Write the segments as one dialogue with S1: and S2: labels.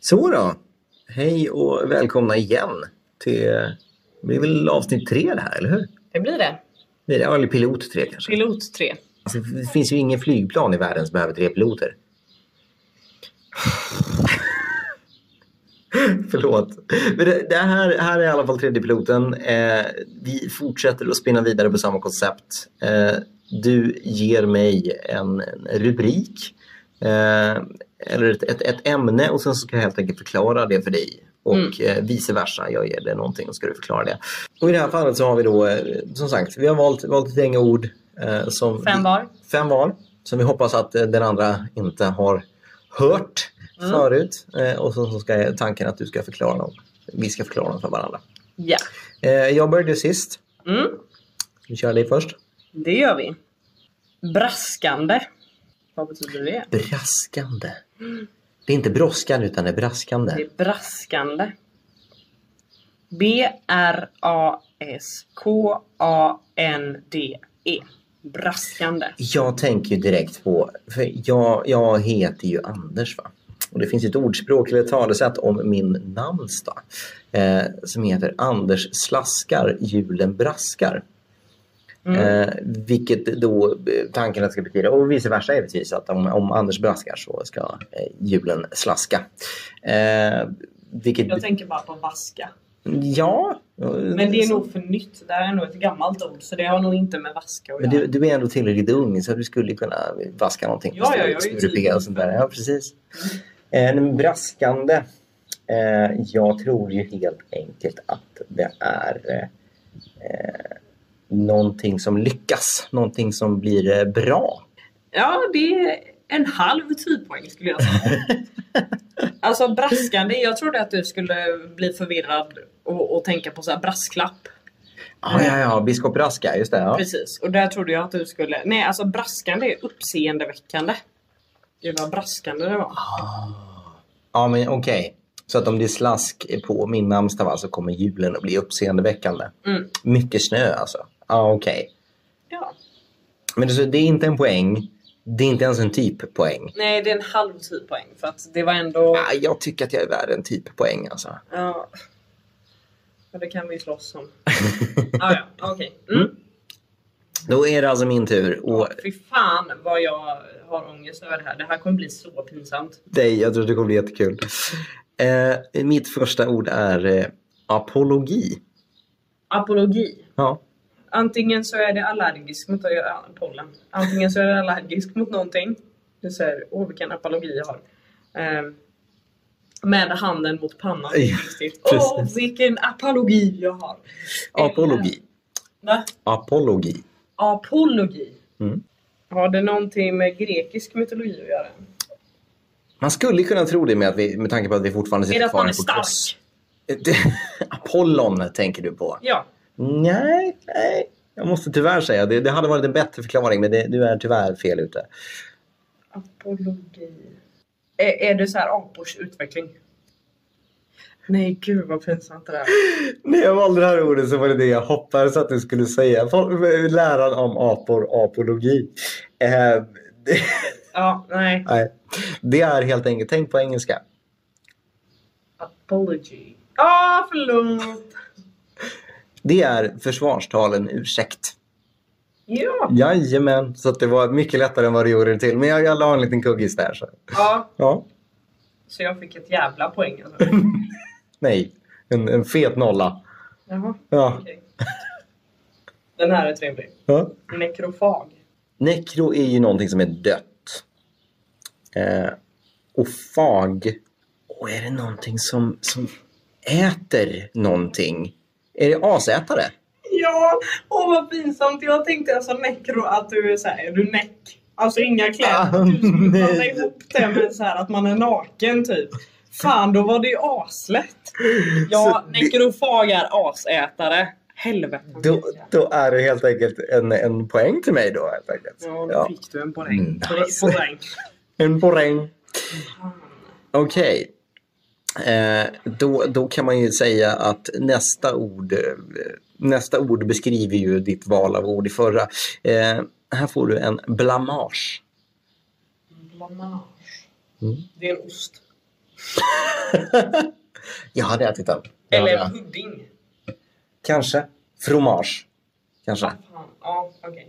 S1: Så då. Hej och välkomna igen till... Det blir väl avsnitt tre det här, eller hur?
S2: Det blir det.
S1: Det är- Eller pilot tre kanske.
S2: Pilot 3.
S1: Alltså, det finns ju ingen flygplan i världen som behöver tre piloter. Förlåt. Men det, det här, här är i alla fall tredje piloten. Eh, vi fortsätter att spinna vidare på samma koncept. Eh, du ger mig en rubrik eh, eller ett, ett, ett ämne och sen ska jag helt enkelt förklara det för dig. Och
S2: Mm.
S1: eh, vice versa, jag ger dig någonting och ska du förklara det. Och i det här fallet så har vi då, eh, som sagt, vi har valt, valt ett gäng ord eh, som
S2: Fem var.
S1: fem val som vi hoppas att eh, den andra inte har hört förut. Eh, Och så så ska tanken att du ska förklara dem. Vi ska förklara dem för varandra.
S2: Ja.
S1: Eh, Jag började sist.
S2: Mm,
S1: Vi kör dig först.
S2: det gör vi. Braskande. Vad betyder det?
S1: Braskande. Det är inte brådskande utan det är braskande.
S2: Det är braskande. B-R-A-S-K-A-N-D-E. E. Braskande.
S1: Jag tänker ju direkt på, för jag, jag heter ju Anders va. Och det finns ett ordspråk eller ett talesätt om min namnsdag. Eh, som heter Anders slaskar, julen braskar.
S2: Mm.
S1: Eh, vilket då eh, tanken att det ska betyda, och vice versa givetvis, att om, om Anders braskar så ska eh, hjulen slaska. Eh, vilket,
S3: Jag tänker bara på vaska.
S1: ja.
S3: Men det är nog för nytt. Det här är nog ett gammalt ord så det har nog inte med vaska att
S1: Men
S3: göra.
S1: du, du är ändå tillräckligt ung så du skulle kunna vaska någonting.
S3: Ja, ja, jag är ju
S1: Snurupiga och sånt där. Ja, precis. Eh, men braskande. Eh, jag tror ju helt enkelt att det är eh, eh, någonting som lyckas. Någonting som blir eh, bra.
S3: Ja, det är en halv tidpoäng skulle jag säga. alltså braskande. Jag trodde att du skulle bli förvirrad och, och tänka på så här brasklapp.
S1: Ah, ja, ja, biskop Braska, just det. Ja.
S3: Precis. Och där trodde jag att du skulle... Nej, alltså braskande är uppseendeväckande. Gud vad braskande det var.
S1: Ja, men okej. Så att om det är slask på min namnsdag va, så kommer julen att bli uppseendeväckande.
S3: Mm.
S1: Mycket snö alltså. Ja, okej.
S3: Ja.
S1: Men det, så det är inte en poäng. Det är inte ens en typ poäng.
S3: Nej, det är en halv tidpoäng för att det var ändå...
S1: Ah, jag tycker att jag är värd en typ poäng alltså.
S3: Ja. ja det kan vi slåss om. ah, ja, okej. Mm.
S1: Då är det alltså min tur. Och
S3: Fy fan vad jag har ångest över det här. Det här kommer bli så pinsamt.
S1: dig, jag tror att det kommer bli jättekul. Eh, mitt första ord är eh, apologi.
S3: Apologi.
S1: Ja.
S3: Antingen så är det allergisk mot att göra pollen. Antingen så är det allergisk mot någonting. Du säger, åh vilken apologi jag har. Ehm, med handen mot pannan. det är viktigt. Åh
S1: Precis.
S3: vilken apologi jag har.
S1: Apologi.
S3: Va?
S1: Apologi.
S3: Apologi.
S1: Mm.
S3: Har det någonting med grekisk mytologi att göra?
S1: Man skulle kunna tro det med, att vi, med tanke på att vi fortfarande
S3: Är det
S1: sitter
S3: att
S1: kvar
S3: man
S1: på
S3: är
S1: kurs.
S3: stark?
S1: Det- Apollon tänker du på?
S3: Ja.
S1: Nej, nej. Jag måste tyvärr säga det. Det hade varit en bättre förklaring men det, du är tyvärr fel ute.
S3: Apologi. Är, är det så här apors utveckling? Nej gud vad pinsamt det där
S1: När jag valde det här ordet så var det det jag hoppades att du skulle säga. Folk- Läran om apor, apologi. Eh, det,
S3: Ja, nej.
S1: nej. det är helt enkelt, tänk på engelska.
S3: Apology. Ja, förlåt.
S1: Det är försvarstalen ursäkt.
S3: Ja.
S1: Jajamän, så att det var mycket lättare än vad du gjorde det till. Men jag, jag la en liten kuggis där. Så.
S3: ja,
S1: Ja,
S3: så jag fick ett jävla poäng alltså.
S1: nej, en, en fet nolla.
S3: Jaha,
S1: Ja.
S3: okej. Den här är trevlig.
S1: Ja.
S3: Nekrofag.
S1: Nekro är ju någonting som är dött. Eh, och fag, och är det någonting som, som äter någonting? Är det asätare?
S3: Ja, åh vad pinsamt. Jag tänkte alltså nekro att du är såhär, är du näck? Alltså inga kläder.
S1: Ah,
S3: Du skulle blanda
S1: nej.
S3: ihop det med såhär att man är naken typ. Fan, då var det ju aslätt. Ja,
S1: Så det-
S3: nekrofag är asätare. Helvete.
S1: Då, då är det helt enkelt en, en poäng till mig då. Helt enkelt.
S3: Ja, nu
S1: Ja. Mm.
S3: fick du en poäng.
S1: Nice.
S3: Poäng.
S1: En poäng. Okej. Eh, då, då kan man ju säga att nästa ord, eh, nästa ord beskriver ju ditt val av ord i förra. Eh, här får du en blamage.
S3: Blamage.
S1: Mm.
S3: Det är en ost.
S1: jag hade ätit den. Det hade
S3: Eller
S1: jag.
S3: pudding.
S1: Kanske. Fromage. Kanske.
S3: Vad fan, Ja, okej.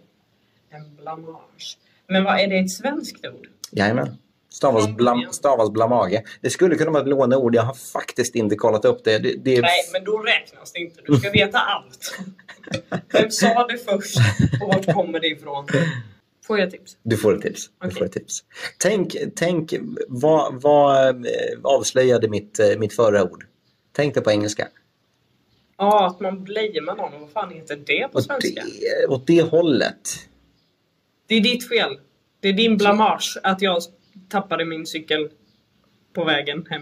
S3: En blamage. Men vad är det ett svenskt ord?
S1: Jajamän. Stavas, blam, stavas blamage. Det skulle kunna vara ett låneord. Jag har faktiskt inte kollat upp det. Det, det är
S3: Nej, men då räknas det inte. Du ska veta allt. Vem sa det först och vart kommer det ifrån? Får jag tips?
S1: Du får ett tips. Du
S3: Okej.
S1: får ett tips. Tänk, tänk vad, vad eh, avslöjade mitt, eh, mitt förra ord? Tänk det på engelska.
S3: Ja, att man blamear någon. Vad fan heter det på
S1: Åt
S3: svenska?
S1: det, åt det hållet.
S3: Det är ditt fel. Det är din blamage att jag tappade min cykel på vägen hem.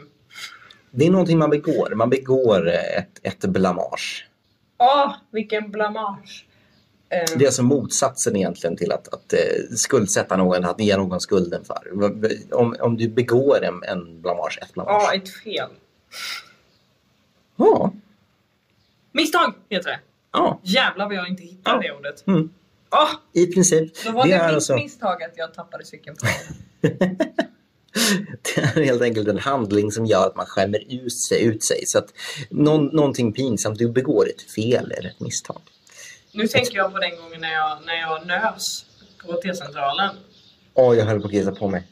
S1: Det är någonting man begår. Man begår eh, ett, ett blamage.
S3: Åh, vilken blamage! Eh,
S1: Det är alltså motsatsen egentligen till att, att eh, skuldsätta någon, att ge någon skulden för. Om, om du begår en, en blamage, ett
S3: Ja,
S1: blamage.
S3: ett fel.
S1: Ja.
S3: Misstag heter det.
S1: ja.
S3: Jävlar vad jag inte hittade
S1: Ja.
S3: det ordet.
S1: Mm.
S3: Åh,
S1: I princip.
S3: då var
S1: Det
S3: det,
S1: är
S3: mitt
S1: alltså-
S3: misstag att jag tappade cykeln på vägen.
S1: Det är helt enkelt en handling som gör att man skämmer ut sig. Ut sig. Så att någon, någonting pinsamt, du begår ett fel eller ett misstag.
S3: Nu tänker jag på den gången när jag, när jag nös på T-centralen.
S1: Åh, jag höll på att kissa på mig.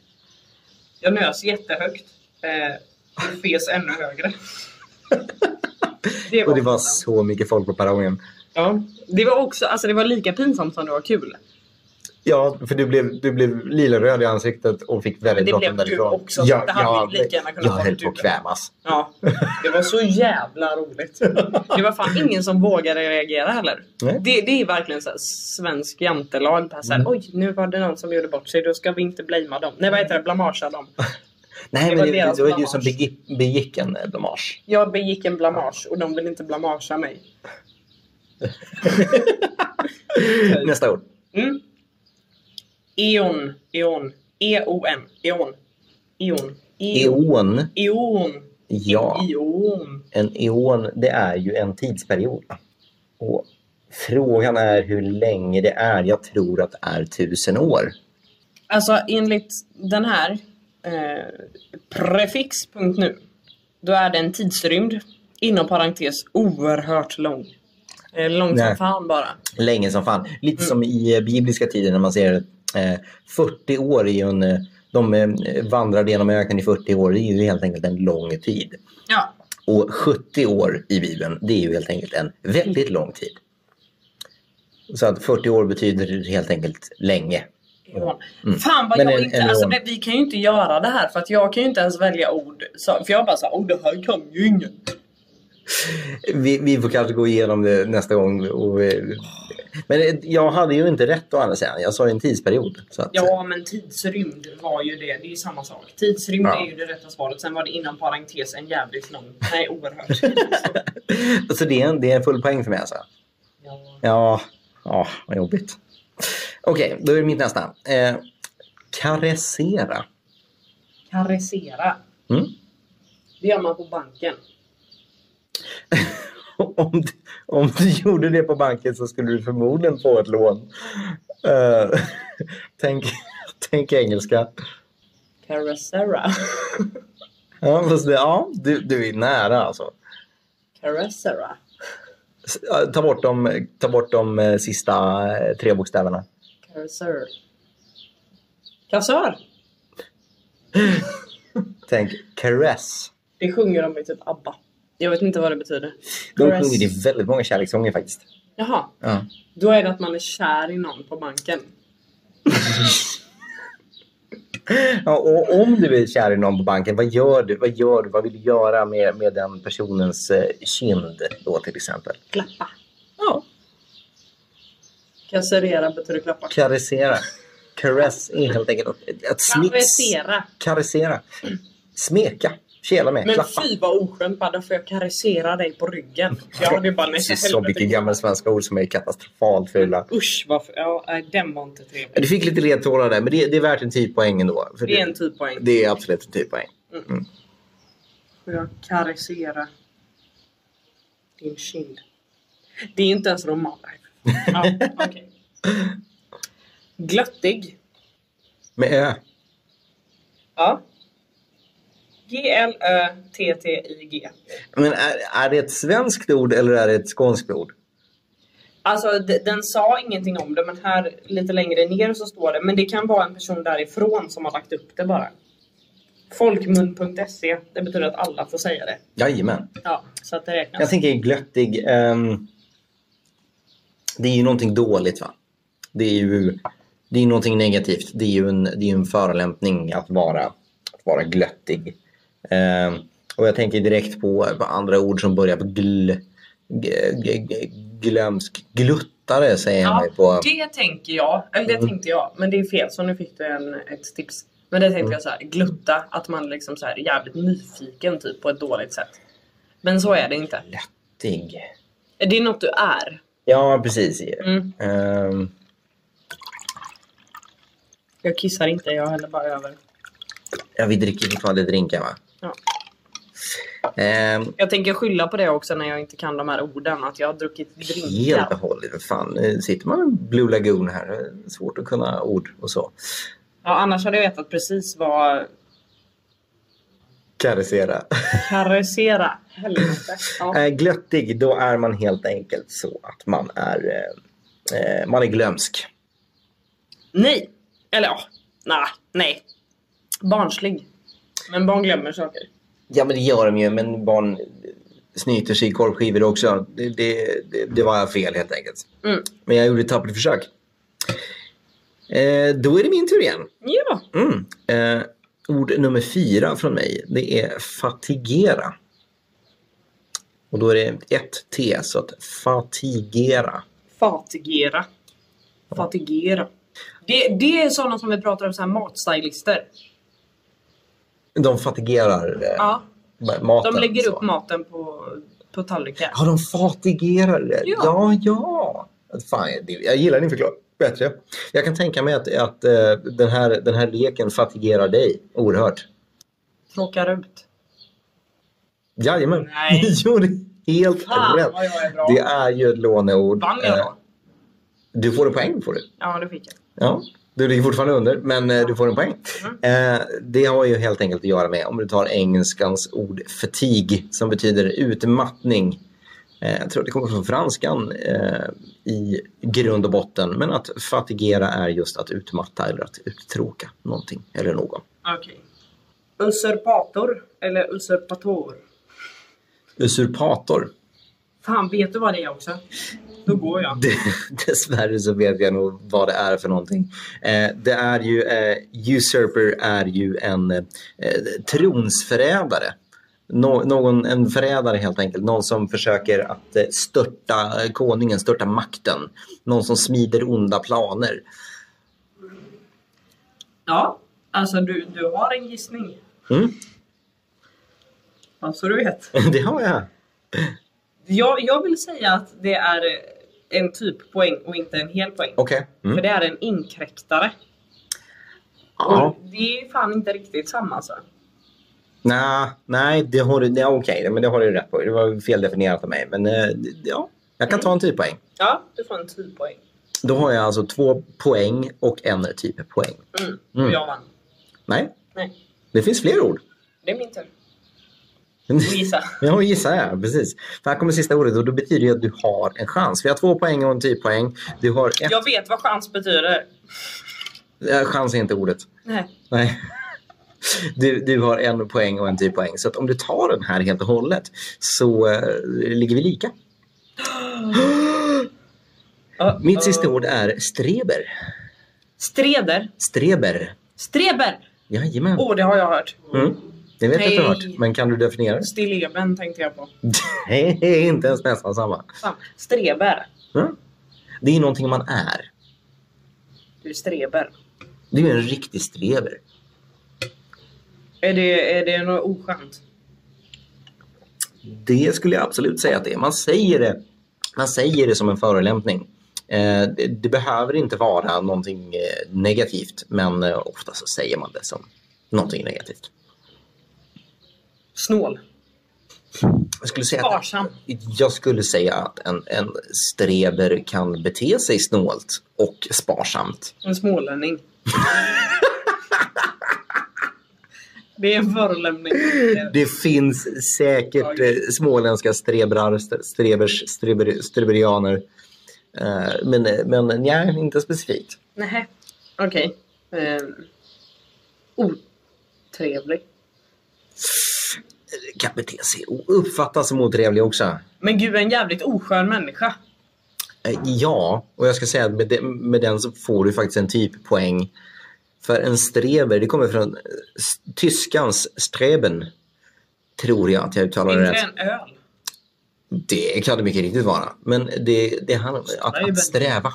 S3: Jag nös jättehögt. Eh, och fes ännu högre.
S1: Och det var
S3: pinsamt.
S1: så mycket folk på perrongen.
S3: Ja. Det var också, alltså det var lika pinsamt som det var kul.
S1: Ja, för du blev, du blev lila-röd i ansiktet och fick
S3: Men
S1: väldigt
S3: det
S1: bråttom
S3: blev du
S1: därifrån.
S3: också, så det hade lika gärna kunnat
S1: jag
S3: vara
S1: höll på
S3: du.
S1: att kvävas.
S3: Ja. Det var så jävla roligt. Det var fan ingen som vågade reagera heller.
S1: Nej.
S3: Det, det är verkligen så här svensk jantelag. bara Så här, Oj, nu var det någon som gjorde bort sig. Då ska vi inte blamea dem. Nej, vad heter det? Blamagea dem.
S1: Nej,
S3: Det
S1: men
S3: var
S1: det,
S3: deras
S1: det var du
S3: blamage.
S1: som begick, begick en eh, blamage.
S3: Jag begick en blamage och de vill inte blamagea mig.
S1: Nästa ord.
S3: Mm. Eon. Eon. E-O-N. Eon. Eon. Eon.
S1: Eon.
S3: Eon.
S1: Ja,
S3: Eon.
S1: en eon det är ju en tidsperiod. Och frågan är hur länge det är. Jag tror att det är tusen år.
S3: Alltså enligt den här eh, prefix.nu då är det en tidsrymd inom parentes oerhört lång. Eh, långt
S1: Nej.
S3: som fan bara.
S1: Länge som fan.
S3: Mm.
S1: Lite som i eh, bibliska tider när man ser eh, 40 år är ju en... eh, De eh, vandrade genom öknen i 40 år. Det är ju helt enkelt en lång tid.
S3: Ja.
S1: Och 70 år i Bibeln, det är ju helt enkelt en väldigt lång tid. Så att 40 år betyder helt enkelt länge.
S3: Eon.
S1: Mm.
S3: Fan vad
S1: Men
S3: jag
S1: en-
S3: inte,
S1: en
S3: alltså
S1: eon.
S3: det, vi kan ju inte göra det här för att jag kan ju inte ens välja ord. Så, för jag bara såhär, oh det här kan ju ingen.
S1: Vi, vi får kanske gå igenom det nästa gång. Och, eh, men eh, jag hade ju inte rätt å andra sidan. Jag sa ju en tidsperiod. Så att,
S3: Ja, men tidsrymd var ju det. Det är ju samma sak. Tidsrymd
S1: Ja.
S3: är ju det rätta svaret. Sen var det inom parentes en jävligt lång. Nej, oerhört.
S1: Så det är, en, det är en full poäng för mig alltså.
S3: ja.
S1: Ja, ja vad jobbigt. Okej, då är det mitt nästa. Eh, karessera.
S3: Karessera.
S1: Mm.
S3: Det gör man på banken.
S1: om, du, om du gjorde det på banken så skulle du förmodligen få ett lån. Eh, tänk, tänk engelska.
S3: Caressera.
S1: Ja, fast det, ja du, du är nära alltså.
S3: Caressera.
S1: S- ja, Ta bort de, ta bort de eh, sista eh, tre bokstäverna.
S3: Caressör. Kassör.
S1: Tänk caress.
S3: Det sjunger de i typ ABBA. Jag vet inte vad det betyder.
S1: De
S3: Caress.
S1: sjunger i väldigt många kärlekssånger faktiskt.
S3: Jaha.
S1: Ja.
S3: Då är det att man är kär i någon på banken.
S1: Ja, och om du är kär i någon på banken, vad gör du? Vad, gör du? vad vill du göra med, med den personens eh, kind då till exempel?
S3: Klappa.
S1: Ja,
S3: Kasserera betyder klappa.
S1: Karessera. Caress är helt enkelt att, att smics,
S3: Karessera.
S1: karessera. Smeka, kela med,
S3: Men
S1: klappa.
S3: fy vad oskönt bara, då får jag karessera dig på ryggen. Jag hade bara nej
S1: Precis så mycket gamla svenska ord som är katastrofalt fula.
S3: Usch varför, ja nej, den var inte trevlig.
S1: Du fick lite ledtrådar där, men det, det är värt en 10 poäng ändå. För
S3: Det är en typ poäng.
S1: det är absolut en 10 poäng.
S3: Får jag karessera din kind? Det är inte ens roman. Ja, okej. Glöttig.
S1: äh, Med ö.
S3: Ja. G-L-Ö-T-T-I-G.
S1: Men är, är det ett svenskt ord eller är det ett skånskt ord?
S3: Alltså d- den sa ingenting om det men här lite längre ner så står det. Men det kan vara en person därifrån som har lagt upp det bara. Folkmun.se. E. Det betyder att alla får säga det.
S1: Jajamän.
S3: Ja, så att det
S1: Jag
S3: räknas.
S1: tänker glöttig. ehm, det är ju någonting dåligt va? Det är ju det är någonting negativt. Det är ju en, det är ju en förolämpning att vara, att vara glöttig. Ehm, och jag tänker direkt på, på andra ord som börjar på gl, g, g, g, glömsk. Gluttare säger jag
S3: Ja,
S1: mig på.
S3: Det tänker jag. Eller det
S1: Mm.
S3: tänkte jag. Men det är fel så nu fick du en, ett tips. Men det tänkte
S1: Mm.
S3: jag så här, glutta. Att man liksom så här är jävligt nyfiken typ på ett dåligt sätt. Men så är det inte.
S1: Dig.
S3: Det är något du är.
S1: Ja, precis.
S3: Mm.
S1: Ehm,
S3: Jag kissar inte, jag häller bara över.
S1: ja, vi dricker fortfarande drinkar va?
S3: Ja.
S1: Ehm,
S3: Jag tänker skylla på det också när jag inte kan de här orden. Att jag har druckit
S1: Helt
S3: drinkar.
S1: och hållet. Vad Fan, eh, sitter man med Blue Lagoon här, eh, svårt att kunna ord och så.
S3: Ja, annars hade jag vetat precis vad
S1: Karisera.
S3: karusera. Helvete. Ja.
S1: Eh, glöttig, då är man helt enkelt så att man är, eh, eh, man är glömsk.
S3: Nej! Eller ja, nej, nej. Barnslig. Men barn glömmer saker.
S1: Ja, men det gör de ju, men barn snyter sig i korvskivor också. Det, det, det, det var fel helt enkelt.
S3: Mm.
S1: Men jag gjorde ett tappert försök. Eh, då är det min tur igen.
S3: Ja.
S1: Mm. Eh, ord nummer fyra från mig, det är fatigera. Och då är det ett T, så att fatigera.
S3: Fatigera. Fatigera. Det, det är sådana som vi pratar om, så här matstylister.
S1: De fatigerar eh,
S3: Ja,
S1: ma- maten.
S3: de lägger
S1: så.
S3: upp maten på, på tallrikar.
S1: Ja, de fatigerar det.
S3: Ja.
S1: Ja, ja. Fan, det, jag gillar din förklaring bättre. Jag kan tänka mig att, att eh, den, här, den här leken fatigerar dig oerhört.
S3: Plockar ut.
S1: Jajamän.
S3: Nej.
S1: jo, det är helt
S3: Fan
S1: rätt.
S3: vad jag är bra.
S1: Det är ju ett låneord.
S3: Vann jag
S1: Eh,
S3: då?
S1: Du får en poäng får du.
S3: Ja, det fick jag.
S1: Ja, du ligger fortfarande under, men eh, du får en poäng. Eh, det har ju helt enkelt att göra med om du tar engelskans ord fatig som betyder utmattning. Eh, jag tror att det kommer från franskan eh, i grund och botten, men att fatigera är just att utmatta eller att uttråka någonting eller någon.
S3: Okej. Usurpator eller usurpator?
S1: Usurpator.
S3: Fan, vet du vad det är också? Då går jag.
S1: Det, dessvärre så vet jag nog vad det är för någonting. Eh, det är ju, eh, usurper är ju en eh, tronsförrädare. Nå, någon, en förrädare helt enkelt, någon som försöker att eh, störta eh, konungen, störta makten. Någon som smider onda planer.
S3: Ja, alltså du, du har en gissning.
S1: Mm,
S3: Ja, så du vet.
S1: det har jag.
S3: Jag, jag vill säga att det är en typ poäng och inte en hel poäng.
S1: Okej. Mm.
S3: För det är en inkräktare.
S1: Ja.
S3: Och det är fan inte riktigt samma alltså.
S1: Nej, nej, det har du, nej, okej, men det har du rätt på. Det var feldefinierat av mig, men eh, ja, jag kan ta en typ poäng.
S3: Ja, du får en typ poäng.
S1: Då har jag alltså två poäng och en typ poäng.
S3: Mm.
S1: Mm.
S3: Och jag vann.
S1: Nej,
S3: Nej,
S1: det finns fler ord.
S3: det är min tur. Och gissa.
S1: Ja, gissar jag. Precis. För här kommer sista ordet och då betyder det att du har en chans. Vi har två poäng och en typ poäng. Du har ett...
S3: Jag vet vad chans betyder.
S1: eh, Chans är inte ordet.
S3: Nej.
S1: Nej. Du, du har en poäng och en typ poäng. Så att om du tar den här helt och hållet så eh, ligger vi lika. Mitt sista ord är streber.
S3: Streder.
S1: Streber.
S3: Streber!
S1: Jajamän.
S3: Åh, oh, det har jag hört.
S1: Mm. Det vet jag att du har
S3: Nej.
S1: hört. Men kan du definiera det?
S3: Stilleben tänkte jag på.
S1: Nej, inte ens nästan samma.
S3: Fan. Streber.
S1: Mm. Det är någonting man är.
S3: Du är streber.
S1: Det är ju en riktig streber.
S3: Är det, är det något oskönt?
S1: Det skulle jag absolut säga att det är. Man säger det, man säger det som en förolämpning. Eh, det, det behöver inte vara någonting eh, negativt, men eh, ofta så säger man det som någonting negativt.
S3: Snål.
S1: Jag skulle säga att,
S3: Sparsam.
S1: jag skulle säga att en, en streber kan bete sig snålt och sparsamt.
S3: En smålänning. Det är en förolämpning.
S1: Det finns säkert eh, småländska strebrar, st- strebers, streber, streberianer. Eh, men, eh, men nej, inte specifikt.
S3: Nähä. Okej. Ehm. Otrevlig.
S1: Kan bete sig och uppfattas som otrevlig också.
S3: Men gud, en jävligt oskön människa.
S1: Eh, Ja, och jag ska säga att med, de, med den så får du faktiskt en typpoäng. För en streber, det kommer från eh, s- tyskans streben. Tror jag att jag uttalar det
S3: Inte
S1: rätt.
S3: en öl.
S1: Det kan det mycket riktigt vara. Men det, det handlar om att,
S3: Streben.
S1: att sträva.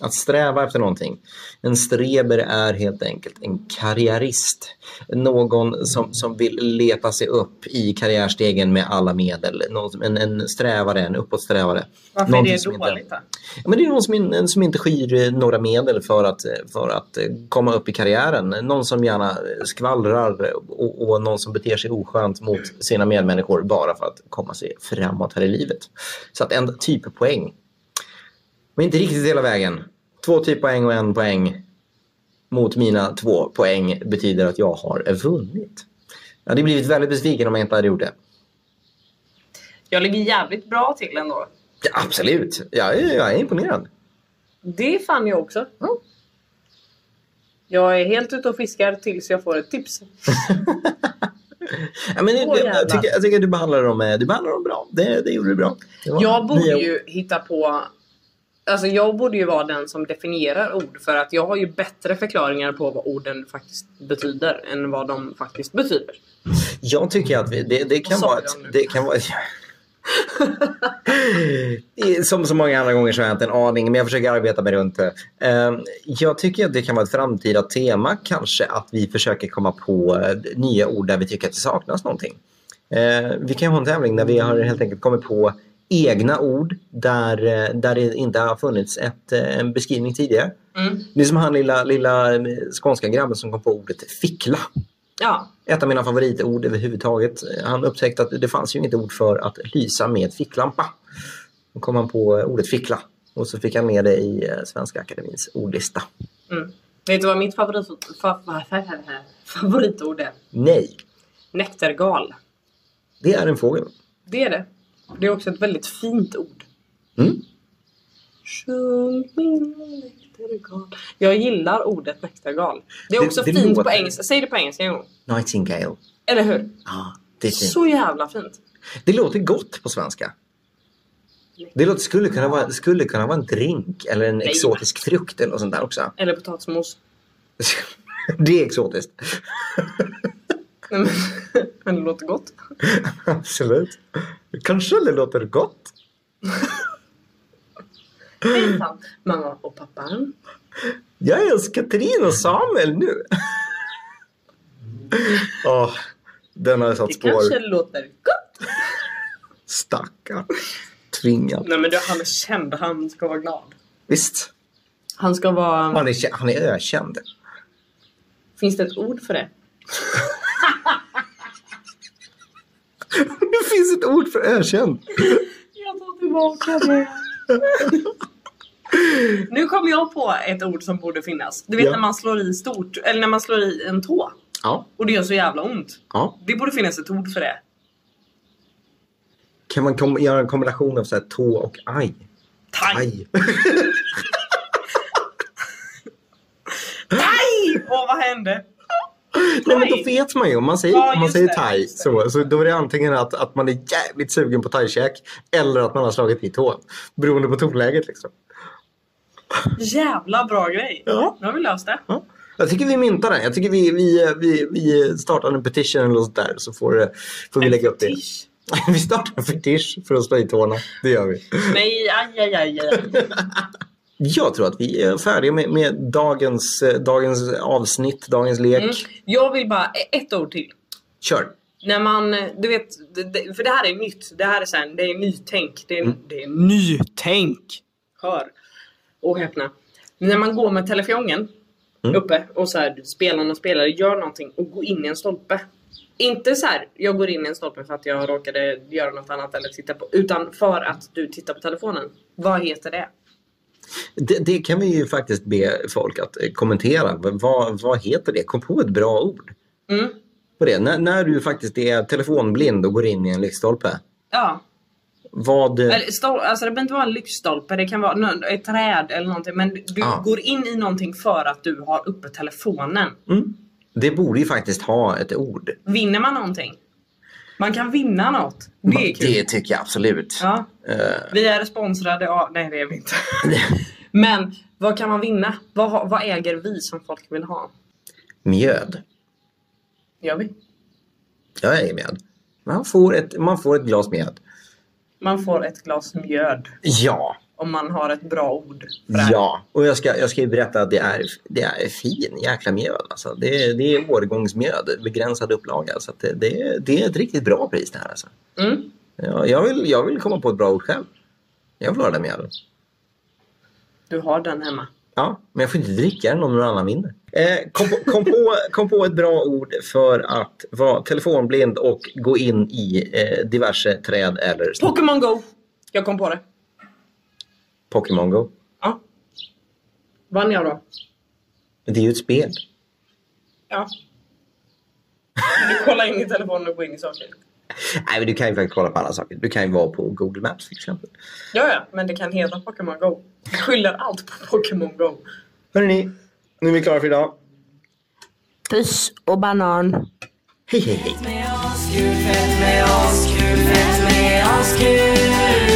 S1: Att sträva efter någonting. En streber är helt enkelt en karriärist. Någon som, som vill leta sig upp i karriärstegen med alla medel. Någon, som- en, en strävare, en uppåtsträvare.
S3: Varför
S1: Någonting
S3: är det
S1: som inte-
S3: dåligt då?
S1: Ja, men det är någon som, in, som inte skyr eh, några medel för att, eh, för att eh, komma upp i karriären. Någon som gärna eh, skvallrar och, och någon som beter sig oskönt mot sina medmänniskor bara för att komma sig framåt här i livet. Så att en typpoäng. Men inte riktigt hela vägen. Två typpoäng och en poäng mot mina två poäng betyder att jag har vunnit. Jag hade blivit väldigt besviken om jag inte hade gjort det.
S3: Jag ligger jävligt bra till ändå.
S1: Ja, absolut, jag är, jag är imponerad.
S3: Det fann jag också.
S1: Ja.
S3: Jag är helt ute och fiskar tills jag får ett tips.
S1: Ja, men jag,
S3: Åh,
S1: jag,
S3: jävlar.
S1: tycker, jag tycker du behandlar dem, eh, du behandlar dem bra. Det, det gjorde du bra. Det var
S3: Jag borde
S1: nya ord.
S3: ju hitta på... Alltså jag borde ju vara den som definierar ord för att jag har ju bättre förklaringar på vad orden faktiskt betyder än vad de faktiskt betyder.
S1: Jag tycker att vi, det, det, kan
S3: Vad sa
S1: vara
S3: jag
S1: ett,
S3: nu?
S1: det kan vara ett... Det är Som så många andra gånger så har jag inte en aning, men jag försöker arbeta mig runt det. Ehm, Jag tycker att det kan vara ett framtida tema kanske att vi försöker komma på eh, nya ord där vi tycker att det saknas någonting. Ehm, Vi kan ha en tävling där vi har helt enkelt kommit på egna ord där, eh, där det inte har funnits ett, eh, en beskrivning tidigare.
S3: Mm.
S1: Det är som han lilla, lilla eh, skånska grabben som kom på ordet fickla.
S3: Ja,
S1: Ett av mina favoritord överhuvudtaget. Han upptäckte att det fanns ju inget ord för att lysa med ficklampa. Då kom han på eh, ordet fickla och så fick han med det i eh, Svenska Akademins ordlista.
S3: Mm. Vet du vad mitt favoritord, fa, fa, fa, fa, fa, favoritord är?
S1: Nej,
S3: Näktergal.
S1: det är en fågel.
S3: Det är det. Det är också ett väldigt fint ord.
S1: Mm.
S3: Sjung min näktergal. Jag gillar ordet näktergal. Det är
S1: Det-
S3: också
S1: det
S3: fint på
S1: låter-
S3: engelska. Säg det på engelska en gång.
S1: Nightingale.
S3: Eller hur?
S1: Ja, det, är fint.
S3: Så jävla fint.
S1: det låter gott på svenska. Det låter, skulle, kunna vara, skulle kunna vara en drink eller en
S3: Nej.
S1: exotisk frukt eller något sånt där också.
S3: Eller potatismos.
S1: Det är exotiskt.
S3: Nej, men, men det låter gott.
S1: Absolut. Kanske det låter gott.
S3: Hejsan, mamma och pappa.
S1: Jag älskar Katrin och Samuel nu. Åh, den har satt
S3: Det
S1: spår.
S3: kanske låter gott.
S1: Stackarn. Tvingad.
S3: Nej men du, han är känd. Han ska vara glad.
S1: Visst.
S3: Han ska vara...
S1: Han är, kä- han är ökänd.
S3: Finns det ett ord för det?
S1: Det finns ett ord för ökänd.
S3: Jag tar tillbaka det. nu kom jag på ett ord som borde finnas. Du vet
S1: Ja.
S3: när man slår i stort, eller när man slår i en tå
S1: Ja,
S3: och det gör så jävla ont.
S1: ja.
S3: Det borde finnas ett ord för det.
S1: Kan man kom- göra en kombination av så här tå och aj?
S3: Taj!
S1: Aj.
S3: Taj! Åh vad hände?
S1: Nej, men då
S3: Taj.
S1: vet man ju. Om man säger,
S3: Ja,
S1: om man
S3: just
S1: säger
S3: det,
S1: thai
S3: just det.
S1: så, så då är det antingen att, att man är jävligt sugen på thaikäk eller att man har slagit i tån. Beroende på tonläget liksom.
S3: Jävla bra grej.
S1: Ja.
S3: Nu har vi löst det.
S1: Ja. Jag tycker vi myntar den. Jag tycker vi, vi, vi, vi startar en petition eller något sånt där så får, eh, får vi
S3: En
S1: lägga upp det.
S3: fetisch.
S1: Vi startar en fetisch för att slå i tårna. Det gör vi.
S3: Nej, aj, aj, aj, aj.
S1: Jag tror att vi är färdiga med, med dagens, eh, dagens avsnitt, dagens lek.
S3: Mm. Jag vill bara e- ett ord till.
S1: Kör!
S3: När man, du vet, det- det- för det här är nytt. Det här är så här, det är nytänk. Det är,
S1: Mm.
S3: det är nytänk. Hör och häpna. När man går med telefonen
S1: Mm.
S3: uppe och så här, spelarna spelar, gör någonting och går in i en stolpe. Inte så här, jag går in i en stolpe för att jag råkade göra något annat eller titta på. Utan för att du tittar på telefonen. Vad heter det?
S1: Det, det kan vi ju faktiskt be folk att eh, kommentera. V- Vad, vad heter det? Kom på ett bra ord.
S3: Mm.
S1: på det. När, när du faktiskt är telefonblind och går in i en lyktstolpe.
S3: Ja.
S1: Vad...
S3: Eller, stol, alltså det behöver inte vara en lyktstolpe, det kan vara nå- ett träd eller någonting. Men du
S1: Ja.
S3: går in i någonting för att du har uppe telefonen.
S1: Mm. Det borde ju faktiskt ha ett ord.
S3: Vinner man någonting? Man kan vinna något. Det är kul.
S1: Det tycker jag absolut.
S3: Ja.
S1: Eh,
S3: Vi är sponsrade av... Nej det är vi inte. Men vad kan man vinna? Vad, har- vad äger vi som folk vill ha?
S1: mjöd.
S3: Gör vi?
S1: Jag äger mjöd. Man får, ett, man får ett glas mjöd.
S3: Man får ett glas mjöd
S1: Ja.
S3: om man har ett bra ord. för det här.
S1: Ja, och jag ska, jag ska ju berätta att det är, det är fin jäkla mjöd. Alltså. Det, är- det är årgångsmjöd, begränsad upplaga. Så att det, det, är- det är ett riktigt bra pris det här. Alltså.
S3: Mm.
S1: Ja, jag, vill, jag vill komma på ett bra ord själv. Jag vill ha det mjödet.
S3: Du har den hemma.
S1: Ja, men jag får inte dricka den om någon annan vinner. Eh, kom, på- kom, på, kom på ett bra ord för att vara telefonblind och gå in i eh, diverse träd eller st-
S3: Pokémon Go! Jag kom på det.
S1: Pokémon Go.
S3: Ja. Vann jag då?
S1: Men Det är ju ett spel.
S3: Ja. Du kollar in i telefonen och går in i saker.
S1: Nej, men du kan ju faktiskt kolla på alla saker. Du kan ju vara på Google Maps till exempel.
S3: Ja, ja, men det kan heta Pokémon Go. Jag skyller allt på Pokémon Go.
S1: Hörrni, nu är vi klara för idag.
S3: Puss och banan.
S1: Hej, hej, hej.
S4: Askul, fett med askul, fett med askul